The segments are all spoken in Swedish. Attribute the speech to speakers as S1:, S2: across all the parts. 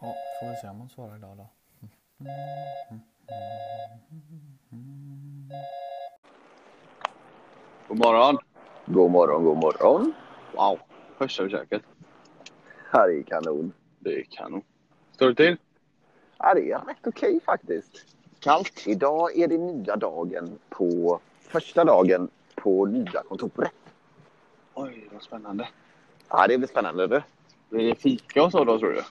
S1: Ja, får vi se om hon svarar idag då.
S2: God morgon.
S3: God morgon, god morgon.
S2: Wow. Första försöket.
S3: Här är kanon.
S2: Det är kanon. Står det till?
S3: Ja, det är rätt okej faktiskt.
S2: Kallt.
S3: Idag är det nya dagen på... Första dagen på nya kontoret.
S2: Oj, vad spännande.
S3: Ja, det blir spännande du.
S2: Blir det fika och så då, tror du?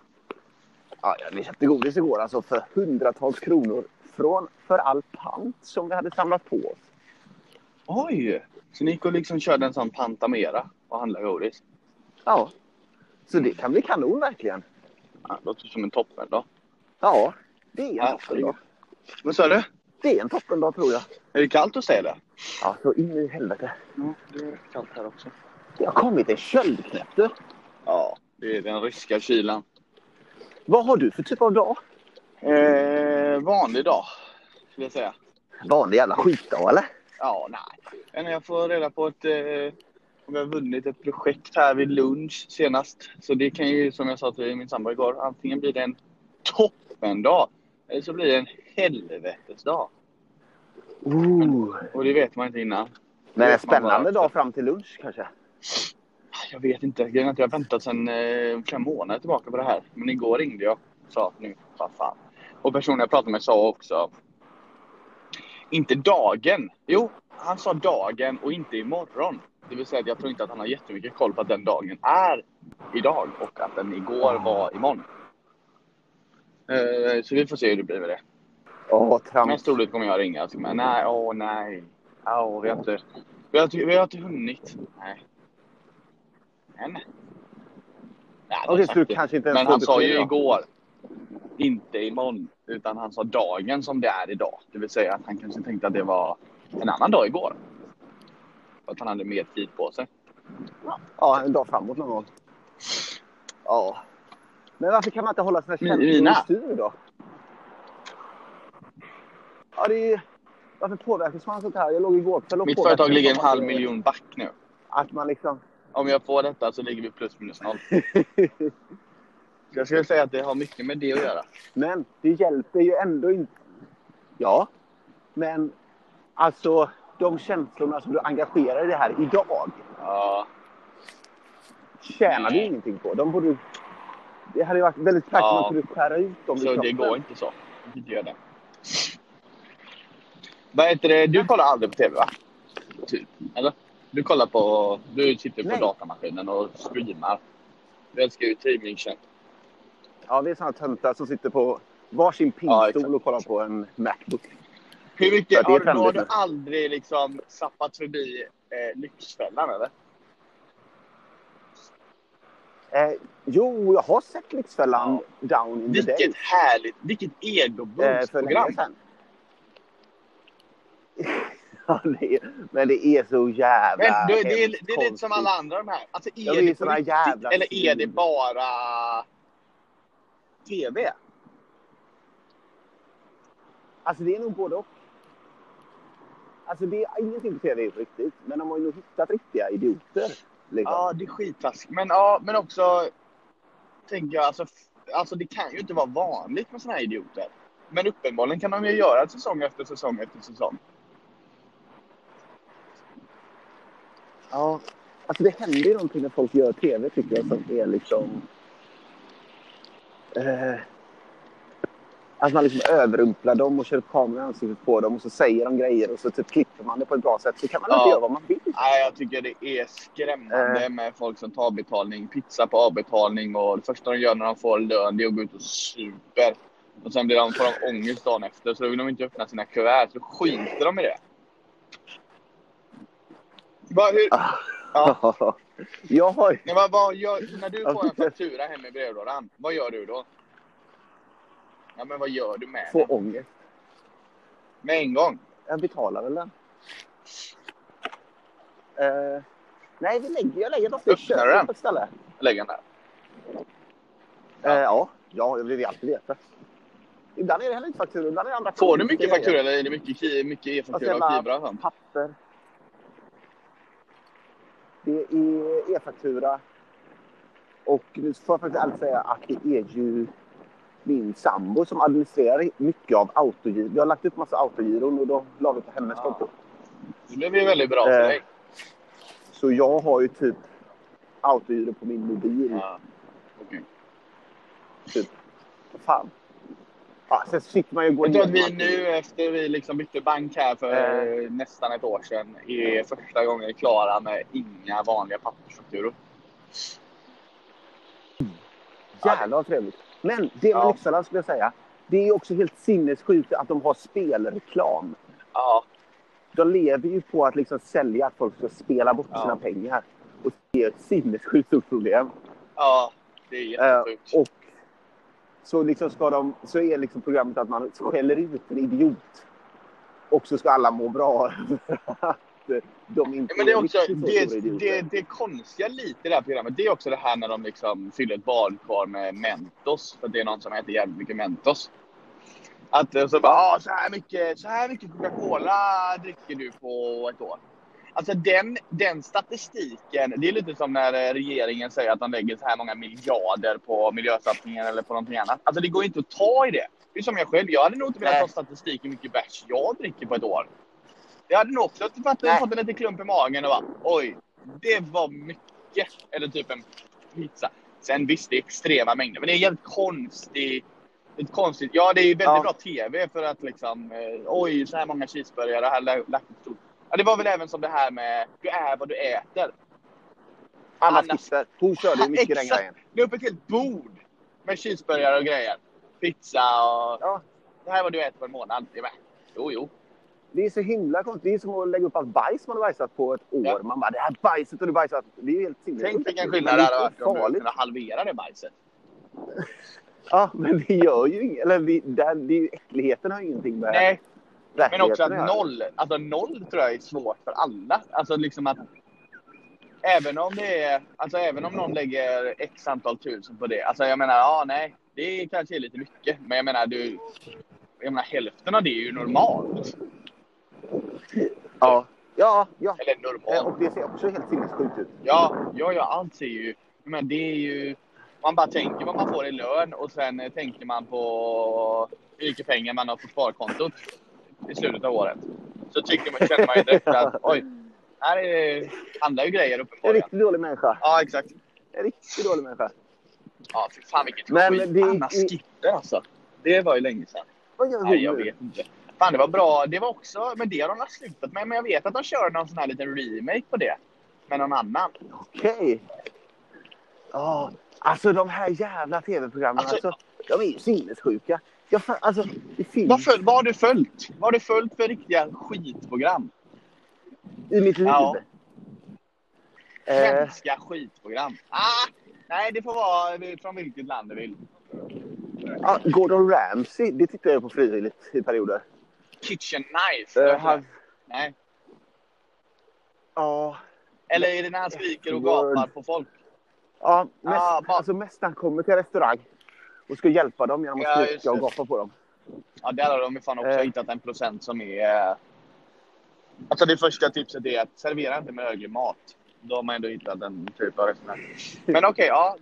S3: Ja, ja, vi köpte godis igår alltså för hundratals kronor. Från för all pant som vi hade samlat på oss.
S2: Oj! Så ni gick och liksom körde en sån Pantamera och handlade godis?
S3: Ja. Så det kan bli kanon verkligen.
S2: Ja, det låter som en toppen då.
S3: Ja, det är en
S2: Ja,
S3: toppendag.
S2: Vad sa du?
S3: Det är en toppendag tror jag.
S2: Är det kallt hos dig eller?
S3: Ja, så in i helvete.
S2: Ja, det är kallt här också.
S3: Det har kommit en köldknäpp du.
S2: Ja, det är den ryska kylan.
S3: Vad har du för typ av dag?
S2: Eh, vanlig dag, skulle jag säga.
S3: Vanlig jävla skitdag eller?
S2: Ja, nej. Men jag får reda på att eh, vi har vunnit ett projekt här vid lunch senast. Så det kan ju, som jag sa till min sambo igår, antingen blir det en toppendag eller så blir det en helvetesdag.
S3: Ooh.
S2: Och det vet man inte innan.
S3: Men en
S2: Vet man
S3: spännande
S2: bara.
S3: dag fram till lunch kanske?
S2: Jag vet inte. Grejen är att Jag har väntat sedan eh, flera månader tillbaka på det här. Men igår ringde jag och sa att nu, vad fan. Och personen jag pratade med sa också... Inte dagen. Jo, han sa dagen och inte imorgon. Det vill säga att jag tror inte att han har jättemycket koll på att den dagen är idag och att den igår var imorgon. Eh, så vi får se hur det blir med det.
S3: Åh, trams.
S2: Mest troligt kommer jag ringa och säga men nej, åh nej. Åh, vi, har inte, vi, har, inte- vi har inte hunnit. Nej. Men. Nej, det
S3: Okej,
S2: är
S3: så
S2: sant
S3: du
S2: det.
S3: kanske inte ens
S2: Men
S3: får
S2: han sa
S3: besked
S2: ju
S3: då?
S2: igår. Inte imorgon. Utan han sa dagen som det är idag. Det vill säga att han kanske tänkte att det var en annan dag igår. För att han hade mer tid på sig.
S3: Ja, en dag framåt någon gång. Ja. Men varför kan man inte hålla sina
S2: Mi-
S3: känslor i
S2: mina.
S3: styr då? Ja, det är ju... Varför påverkas man sånt här? Jag låg igår kväll och
S2: Mitt
S3: påverkades
S2: företag ligger en
S3: av att-
S2: halv miljon back nu.
S3: Att man liksom...
S2: Om jag får detta så ligger vi plus minus noll. Jag skulle säga att det har mycket med det att göra.
S3: Men det hjälper ju ändå inte. Ja. Men alltså, de känslorna som du engagerar i det här idag
S2: Ja.
S3: tjänar du
S2: Nej.
S3: ingenting på. De borde... Det hade ju varit väldigt praktiskt om
S2: Ja.
S3: man kunde skära ut dem liksom. ur
S2: Så det
S3: kroppen.
S2: går inte så. Det gör det. Vad heter det? Du kollar aldrig på TV va? Typ. Eller? Du kollar på... Du sitter på
S3: Nej.
S2: datamaskinen och streamar. Du älskar ju streamingtjänst.
S3: Ja, vi är såna töntar som sitter på varsin
S2: Ja,
S3: pinnstol
S2: exakt.
S3: och kollar på en Macbook.
S2: Hur
S3: Ja,
S2: mycket...
S3: det är
S2: Har, du- har
S3: trendigt
S2: du
S3: nu.
S2: aldrig liksom zappat förbi eh, Lyxfällan eller?
S3: Eh, jo, jag har sett Lyxfällan Down in the Day
S2: Vilket härligt... Vilket
S3: eh, för länge
S2: egoboost-program.
S3: sedan. ja, det är, men det är så jävla
S2: Men du, det, är,
S3: hemskt
S2: det är lite som
S3: konstigt.
S2: alla andra de här. Alltså, är
S3: Ja,
S2: det,
S3: det är
S2: på
S3: såna
S2: riktigt
S3: jävla
S2: eller är det
S3: film.
S2: bara TV?
S3: Alltså det är nog både och. Alltså det är ingenting på tv på riktigt, men de har ju nog hittat riktiga idioter. Liksom.
S2: Ja, det är skittaskigt. Men, ja, men också tänker jag, alltså, f- alltså det kan ju inte vara vanligt med såna här idioter. Men uppenbarligen kan de ju göra säsong efter säsong efter säsong.
S3: Ja. Alltså det händer ju någonting när folk gör tv tycker jag som är liksom... Eh, att man liksom överrumplar dem och kör upp kameran i ansiktet på dem och så säger de grejer och så typ klipper man det på ett bra sätt. Så kan man
S2: Ja.
S3: inte göra vad man vill.
S2: Nej, jag tycker det är skrämmande med folk som tar betalning, pizza på avbetalning och det första de gör när de får lön det är att gå ut och super. Och sen blir de, får de ångest dagen efter så då vill de inte öppna sina kuvert så skiter de i det. Vad, hur, ja.
S3: jag har ju...
S2: Nej, men vad gör, när du får en faktura hem i brevlådan, vad gör du då? Ja, men vad gör du med
S3: Får
S2: den?
S3: ångest.
S2: Med en gång?
S3: Jag betalar väl den. Eh, nej, vi lägger, jag lägger den ofta i
S2: Öppnar du
S3: köket
S2: den?
S3: på ett ställe.
S2: Lägg den där.
S3: Eh, ja. ja, det vill vi alltid veta. Ibland är det heller inte fakturor, ibland är det andra
S2: Får du mycket
S3: konstiga
S2: faktura
S3: grejer.
S2: eller är det mycket, ki- mycket
S3: Och sen
S2: e-faktura och
S3: bara-
S2: Kibra? och sånt?
S3: Papper. Det är e-faktura. Och nu får jag faktiskt ärligt säga att det är ju min sambo som administrerar mycket av autogiro. Jag har lagt upp massa autogiron och de la vi på hennes
S2: Ja.
S3: konto.
S2: Det blev ju väldigt bra för
S3: Eh,
S2: dig.
S3: Så jag har ju typ autogiro på min mobil.
S2: Ja. Okej.
S3: Fan. Ja, sen fick man ju gå
S2: Jag tror att vi
S3: igenom allt.
S2: nu efter vi liksom bytte bank här för
S3: Mm. Eh.
S2: eh, nästan ett år sedan är första gången klara med inga vanliga pappersfakturor.
S3: Jävlar vad trevligt. Men det med
S2: Ja.
S3: Leksand skulle jag säga. Det är ju också helt sinnessjukt att de har spelreklam.
S2: Ja,
S3: De lever ju på att liksom sälja att folk ska spela bort
S2: Ja.
S3: sina pengar. Och det är ett sinnessjukt stort problem.
S2: ja det är jättesjukt.
S3: Eh, och så, liksom ska de, så är liksom programmet att man skäller ut en idiot. Och så ska alla må bra för att de inte
S2: Ja, Men det är också
S3: riktigt så stora
S2: det, det,
S3: idioter.
S2: det konstiga lite i det här programmet, det är också det här när de liksom fyller ett badkar med Mentos. För det är någon som äter jävligt mycket Mentos. Att eh, så bara, "Ah, så här mycket, så här mycket Coca-Cola dricker du på ett år. Alltså den, den statistiken, det är lite som när eh, regeringen säger att de lägger så här många miljarder på miljösatsningen eller på någonting annat. Alltså det går inte att ta i det. Det är som jag själv, jag hade nog inte velat
S3: Nej.
S2: ta statistik hur mycket bärs jag dricker på ett år. Jag hade nog också fått
S3: Nej.
S2: fått en liten klump i magen och bara oj, det var mycket. Eller typ en pizza. Sen visst, det är extrema mängder, men det är jävligt konstigt. Ett konstigt. Ja, det är väldigt
S3: Ja.
S2: bra TV för att liksom eh, oj, så här många cheeseburgare, här la- lagt ett stort. Ja, det var väl även som det här med du är vad du äter.
S3: Anna
S2: Anna-
S3: Skisser, hon körde ju mycket den
S2: Exakt.
S3: grejen.
S2: Det är upp ett helt bord med cheeseburgare och grejer. Pizza och
S3: Ja.
S2: det här är vad du äter på en månad. Det är med. Jo, jo.
S3: Det är så himla konstigt. Det är som att lägga upp allt bajs man har bajsat på ett år.
S2: Ja.
S3: Man bara, det här bajset har du bajsat. Det är ju helt sinnessjukt.
S2: Tänk vilken
S3: Men
S2: skillnad det hade
S3: är
S2: varit om du
S3: farligt.
S2: kunde halvera det bajset.
S3: Ja, men det gör ju inget. Eller det, det, det är ju äckligheten har ju ingenting med
S2: Nej, Men också
S3: verkligheten
S2: att
S3: göra.
S2: noll, alltså noll tror jag är svårt för alla. Alltså liksom att även om det är, alltså även om någon lägger x antal tusen på det. Alltså jag menar, ja nej, det kanske är lite mycket. Men jag menar du, jag menar hälften av det är ju normalt.
S3: Ja, ja. ja.
S2: Eller
S3: Eh, Och
S2: normalt.
S3: det ser också helt sinnessjukt ut.
S2: Ja, ja, ja allt ser ju, men det är ju, man bara tänker vad man får i lön och sen eh, tänker man på hur mycket pengar man har på sparkontot i slutet av året. Så tycker man, känner man ju direkt att oj, här är, handlar ju grejer
S3: En
S2: uppenbarligen.
S3: riktigt dålig människa.
S2: Ja, exakt.
S3: En riktigt dålig människa.
S2: Ja, fy fan vilket
S3: Men
S2: skit.
S3: det-
S2: Anna Skipper alltså. Det var ju länge sedan.
S3: Vad gör hon
S2: Nej, jag
S3: nu?
S2: vet inte. Fan, det var bra. Det var också, men det har de väl slutat med. Men jag vet att de körde någon sån här liten remake på det. Med någon annan.
S3: Okej. Ja, alltså de här jävla tv-programmen.
S2: Alltså-
S3: Alltså, de är ju sinnessjuka. Jag, fa- alltså, det finns
S2: Vad, föl- vad har du följt? Vad har du följt för riktiga skitprogram?
S3: i mitt liv.
S2: Ja.
S3: Eh,
S2: Svenska skitprogram. Ah, nej, det får vara eh, från vilket land du vill.
S3: ja, Gordon Ramsay, det tittar jag på frivilligt i perioder.
S2: Kitchen Knife?
S3: Eh,
S2: eller vad
S3: han,
S2: heter det? Nej.
S3: ja,
S2: Eller är det när han skriker och
S3: Word.
S2: gapar på folk?
S3: ja, mest,
S2: Ja, vad-
S3: alltså, mest när han kommer till restaurang och ska hjälpa dem genom att
S2: Ja, just
S3: skrika och
S2: det.
S3: gapa på dem.
S2: Ja, där har de ju fan också
S3: Eh.
S2: hittat en procent som är... eh, Alltså det första tipset är att servera inte med högre mat. Då har man ändå hittat en typ av restaurang. Men okej, ja.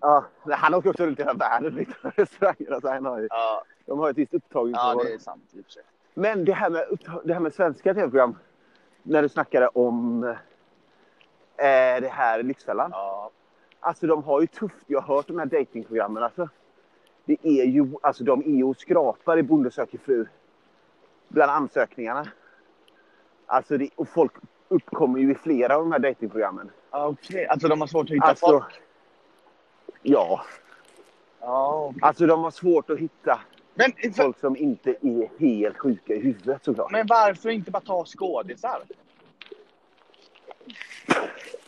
S3: Ja, men han åker också runt i hela världen liksom, restauranger. Alltså, han har ju,
S2: Ja,
S3: de har ju ett visst
S2: ja,
S3: upptagningsområde.
S2: det är sant i och för sig.
S3: Men det här med, uppta- det här med svenska tv-program. När du snackade om eh, det här Lyxfällan.
S2: Ja.
S3: Alltså de har ju tufft. Jag har hört de här datingprogrammen. Alltså. Det är ju, alltså de är ju och skrapar i Bonde söker fru. Bland ansökningarna. Alltså det, och folk uppkommer ju i flera av de här datingprogrammen.
S2: Okej, alltså de har svårt att hitta
S3: Alltså,
S2: folk?
S3: ja,
S2: Ja.
S3: alltså de har svårt att hitta
S2: Men, för,
S3: folk som inte är helt sjuka i huvudet såklart.
S2: men varför inte bara ta skådisar?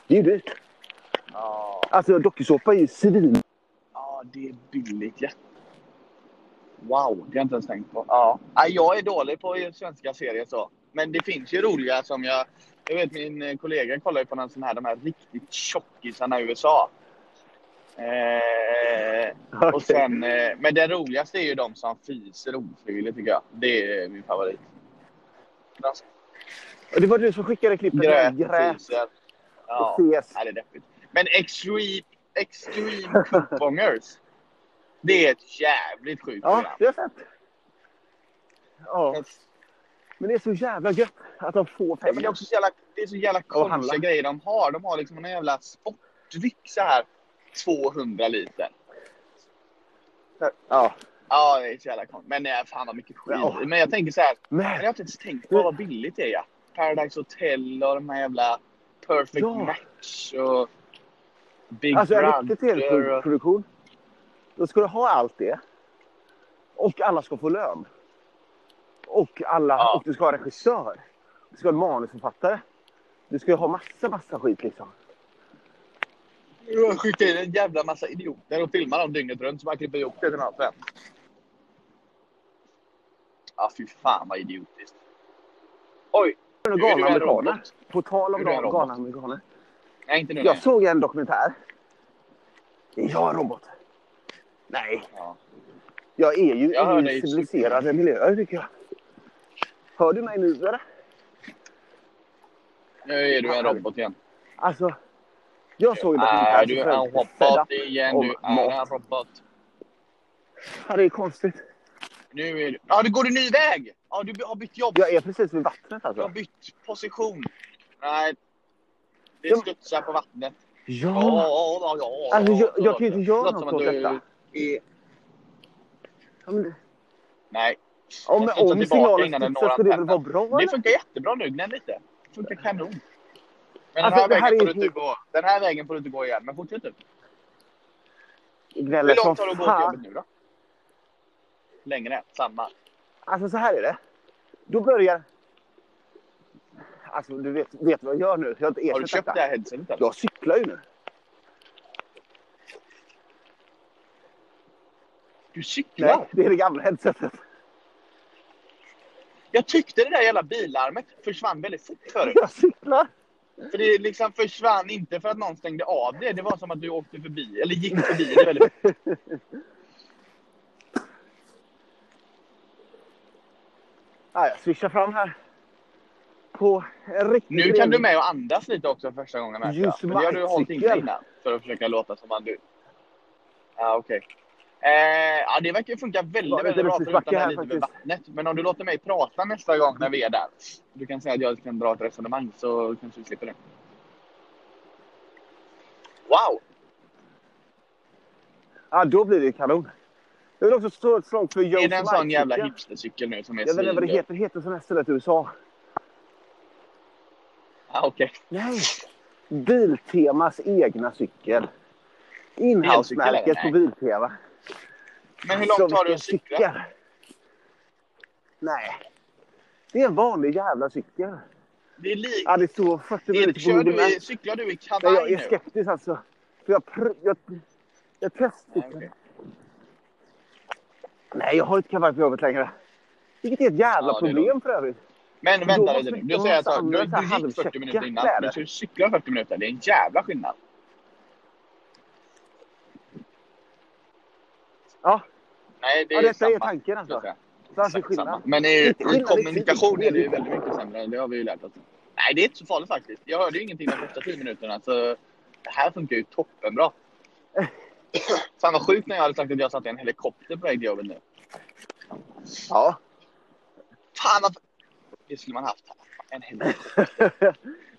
S3: Det är ju dyrt.
S2: Ja,
S3: Alltså dokusåpa är ju svin
S2: ja det är billigt. Ja. Wow, det har jag inte ens tänkt på. Ja. Ja, jag är dålig på svenska serier så. Men det finns ju roliga som jag... Jag vet min eh, kollega kollar ju på någon sån här, de här riktigt tjockisarna i USA. Eh, och
S3: Okej.
S2: sen, eh, men det roligaste är ju de som fiser ofrivilligt tycker jag. Det är min favorit. De som
S3: Och Det var du som skickade klippet.
S2: grät,
S3: Grät, grät
S2: fiser. Ja.
S3: och fes.
S2: Nej, det är deppigt. Men extreme, extreme couponers. Det är ett jävligt sjukt
S3: Ja,
S2: program.
S3: det är fett. Ja, men det är så jävla gött att de får
S2: Ja, men det är
S3: pengar.
S2: också så jävla, det är så jävla
S3: Och
S2: konstiga
S3: handla.
S2: grejer de har. De har liksom en jävla sportdryck så här 200 liter.
S3: Ja,
S2: Ja, det är så jävla konstigt. Men nej, fan vad mycket skit.
S3: Ja.
S2: Men jag tänker så här. Jag
S3: men
S2: har inte ens tänkt på vad billigt det är. Ja. Paradise Hotel och de här jävla Perfect
S3: Ja.
S2: Match och Big
S3: alltså en riktig
S2: Brother. Och...
S3: tv-produktion. Då ska du ha allt det. Och alla ska få lön. Och, alla,
S2: Ja.
S3: och du ska ha regissör. Du ska ha en manusförfattare. Du ska ju ha massa, massa skit liksom.
S2: Jag skickar in en jävla massa idioter och filmar dem dygnet runt så man klipper ihop det till något sen. Ja, fy fan vad idiotiskt. Oj,
S3: Nu
S2: nu är du
S3: galna
S2: en
S3: amerikaner.
S2: robot.
S3: På tal om
S2: Nu är du en
S3: gal-
S2: robot.
S3: galna amerikaner.
S2: Nej, inte nu.
S3: Jag
S2: nej.
S3: såg en dokumentär. Är jag en robot? Nej.
S2: Ja.
S3: Jag är ju
S2: Jag hör
S3: i
S2: dig.
S3: civiliserade miljöer tycker jag. Hör du mig nu eller?
S2: Nu är du en robot igen.
S3: Alltså. Jag såg en dokumentär.
S2: Är
S3: som
S2: du
S3: följde
S2: en
S3: fed
S2: robot
S3: up.
S2: igen?
S3: om
S2: Du är en
S3: mat.
S2: robot.
S3: Ja, det är konstigt.
S2: Nu är du... Ja, du går en ny väg! Ja, du har bytt jobb.
S3: Jag är precis vid vattnet
S2: Du har
S3: alltså.
S2: bytt position. Nej. Det
S3: Ja.
S2: studsar på vattnet. Ja,
S3: Ja.
S2: ja, ja, ja.
S3: Alltså, jag- jag kan ju inte göra
S2: Låter som
S3: något
S2: att
S3: åt
S2: du
S3: detta.
S2: är-
S3: ja men,
S2: Nej.
S3: om
S2: Jag ska ta
S3: om
S2: tillbaka
S3: signalen
S2: innan den
S3: studsar
S2: når
S3: skulle det väl
S2: antennen.
S3: vara bra
S2: Det
S3: eller?
S2: funkar jättebra nu. Gnäll lite. Det funkar kanon. Men
S3: Alltså,
S2: den,
S3: det
S2: här
S3: här
S2: vägen får
S3: är
S2: du inte gå. den här vägen får du inte gå igen. Men fortsätt du. Hur
S3: Gnäller som
S2: långt har du att gå till
S3: fan.
S2: jobbet nu då? Längre. Samma.
S3: Alltså så här är det. Då börjar... Alltså du vet, vet vad jag gör nu? Jag har inte ersatt
S2: Har du köpt
S3: detta.
S2: det här headsetet? eller?
S3: Jag cyklar ju nu.
S2: Du
S3: Nej,
S2: cyklar?
S3: det är det gamla headsetet.
S2: Jag tyckte det där jävla bilarmet försvann väldigt fort förut.
S3: Jag cyklar.
S2: För det liksom försvann inte för att någon stängde av det. Det var som att du åkte förbi, eller gick förbi det väldigt fort.
S3: Ja, jag swishar fram här. På en riktigt
S2: Nu kan du
S3: trevlig-
S2: med och andas lite också för första gången märker jag.
S3: Just
S2: För det har du
S3: right,
S2: hållit inne
S3: cykel.
S2: innan. För att försöka låta som man du. Ja, okej. Eh, ja, det verkar ju funka
S3: Ja,
S2: väldigt,
S3: det är
S2: väldigt bra
S3: precis
S2: förutom det här
S3: backe
S2: lite
S3: här
S2: med
S3: faktiskt.
S2: vattnet. Men om du låter mig prata nästa gång när vi är där. Du kan säga att jag kan dra ett resonemang så kanske vi slipper det. Wow!
S3: Ja, då blir det kanon. Jag vill också slå ett slag för Joe's
S2: är det en sån jävla
S3: Light-cykeln.
S2: hipstercykel nu som är
S3: Jag vet inte vad det heter. Heter sån här stället i USA?
S2: Ah, okej.
S3: Nej. Biltemas egna cykel.
S2: Elcykel är
S3: Inhouse-märket
S2: det,
S3: på
S2: nej.
S3: Biltema.
S2: Men hur långt
S3: Alltså,
S2: har du
S3: vilken
S2: att cykla?
S3: cykel. Nej. Det är en vanlig jävla cykel.
S2: Det är li-
S3: Ja, det står 40
S2: Det är,
S3: minuter på
S2: kör
S3: Google
S2: du i,
S3: Maps.
S2: cyklar du i
S3: Nej,
S2: kavaj
S3: Jag är
S2: nu?
S3: skeptisk alltså. För jag, pr- jag, jag
S2: Nej,
S3: testcyklade.
S2: okej.
S3: Nej, jag har inte kavaj på jobbet längre. Vilket är ett jävla
S2: Ja, det är
S3: problem för övrigt.
S2: Men
S3: Då
S2: vänta
S3: måste
S2: lite nu.
S3: vi
S2: Du
S3: ha
S2: säger att
S3: så
S2: du,
S3: andra så här
S2: du gick 40 minuter
S3: halvkäcka
S2: innan.
S3: kläder.
S2: Men så cyklar 40 minuter. Det är en jävla skillnad.
S3: Ja,
S2: Nej, det är
S3: ja detta
S2: samma.
S3: är tanken
S2: ska jag
S3: alltså.
S2: säga.
S3: Varför
S2: Exakt samma.
S3: skillnad?
S2: Men det är ju,
S3: Inte skillnad,
S2: kommunikation
S3: det är
S2: är ju
S3: inte-
S2: väldigt mycket sämre. Det har vi ju lärt oss. Nej, det är inte så farligt faktiskt. Jag hörde ju ingenting de första 10 minuterna. Så det här funkar ju toppenbra. Fan vad sjukt när jag hade sagt att jag satt i en helikopter på väg till jobbet nu.
S3: Ja.
S2: Fan vad... Det skulle man haft. En helikopter.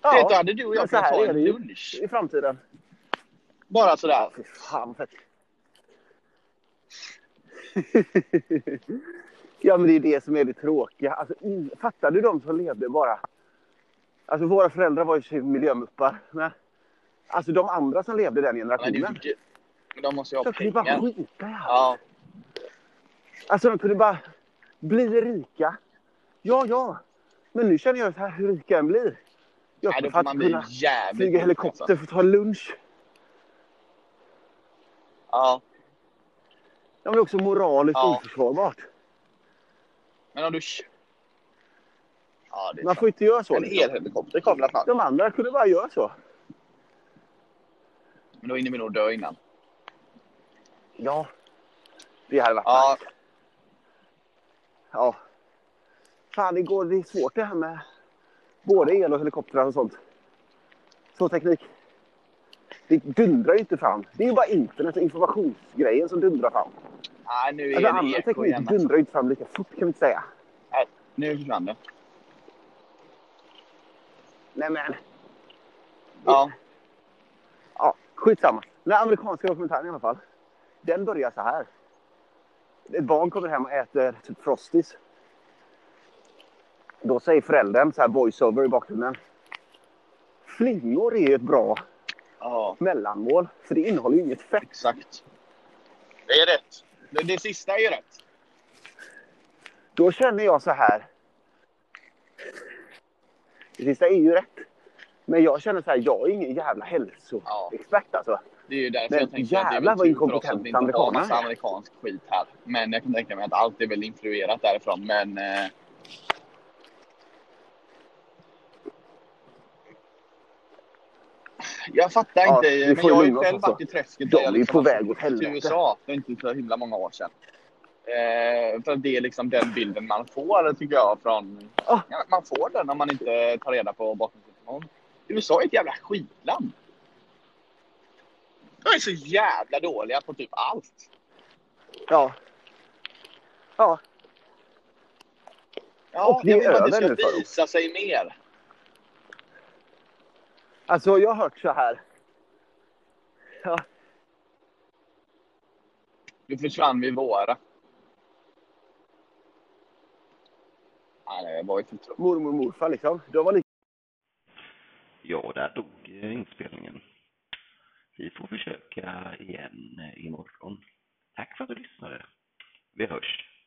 S3: ja.
S2: Då hade du och
S3: men
S2: jag
S3: så
S2: kunnat
S3: här
S2: ta
S3: är det
S2: en
S3: ju.
S2: lunch.
S3: I framtiden.
S2: Bara sådär.
S3: Fy fan fett. ja men det är det som är det tråkiga. Alltså, in, fattar du de som levde bara... Alltså våra föräldrar var ju i och för sig miljömuppar. Men, alltså de andra som levde den
S2: Men det är ju
S3: generationen.
S2: mycket... Men de måste ju
S3: De
S2: ha
S3: kunde bara
S2: pengar.
S3: skita i allt.
S2: Ja,
S3: Alltså de kunde bara bli rika. Ja, ja. Men nu känner jag så här, hur rika jag än blir. Jag
S2: nej, då får
S3: kommer fan
S2: man
S3: inte
S2: bli
S3: kunna
S2: jävligt
S3: flyga
S2: rik,
S3: helikopter
S2: alltså.
S3: för att ta lunch.
S2: Ja,
S3: Ja, men det är också moraliskt
S2: Ja.
S3: oförsvarbart.
S2: men om du... Ja, det är
S3: Man
S2: sant.
S3: får inte göra så. liksom.
S2: En elhelikopter kommer väl snart.
S3: De andra kunde bara göra så.
S2: Men då hinner vi nog dö innan.
S3: Ja. Det hade varit
S2: Ja,
S3: nice. Ja. Fan, det, går, det är svårt det här med både el och helikoptrar och sånt. Så teknik. Det dundrar ju inte fram. Det är ju bara internet och informationsgrejen som dundrar fram.
S2: Nej, nu är
S3: Alltså,
S2: det
S3: annan
S2: eko igen.
S3: teknik
S2: Alltså.
S3: dundrar ju inte fram lika fort kan vi inte säga.
S2: Nej, nu försvann det.
S3: Nej men,
S2: Ja.
S3: ja, skitsamma. Den här amerikanska dokumentären i alla fall. Den börjar så här. Ett barn kommer hem och äter typ Frosties. Då säger föräldern så här voiceover i bakgrunden. Flingor är ju ett bra
S2: ja,
S3: mellanmål för det innehåller ju inget fett.
S2: exakt. Det är rätt. Det, det sista är ju rätt.
S3: Då känner jag så här. Det sista är ju rätt. Men jag känner så här, jag är ingen jävla hälsoexpert alltså.
S2: Det är ju därför
S3: Men
S2: jag tänker att det är
S3: jävlar
S2: väl
S3: vad
S2: tur för oss att
S3: inkompetenta
S2: vi inte har
S3: amerikanerna
S2: massa
S3: är.
S2: amerikansk skit här. Men jag kan tänka mig att allt är väl influerat därifrån. Men eh, Jag fattar
S3: Ja,
S2: inte.
S3: vi
S2: men
S3: får
S2: jag har
S3: lugna
S2: ju
S3: oss
S2: själv
S3: alltså.
S2: varit i träsket.
S3: De
S2: där jag
S3: är ju på
S2: har
S3: väg åt
S2: flyttat
S3: helvete.
S2: Till USA för inte så himla många år sedan. Eh, för det är liksom den bilden man får, tycker jag. Från,
S3: Ah.
S2: ja, man får den om man inte tar reda på bakgrundsinformation. USA är ett jävla skitland. De är så jävla dåliga på typ allt.
S3: Ja. Ja,
S2: Ja,
S3: Och det
S2: jag
S3: är
S2: vill bara att det
S3: över
S2: ska
S3: nu för dem.
S2: visa sig mer.
S3: Alltså jag har hört så här. Ja,
S2: Nu försvann vi våra. Nej, det var ju för tråkigt.
S3: mormor och morfar liksom. De var lite
S4: Ja, där dog eh, inspelningen. Vi får försöka igen eh, imorgon. Tack för att du lyssnade. Vi hörs.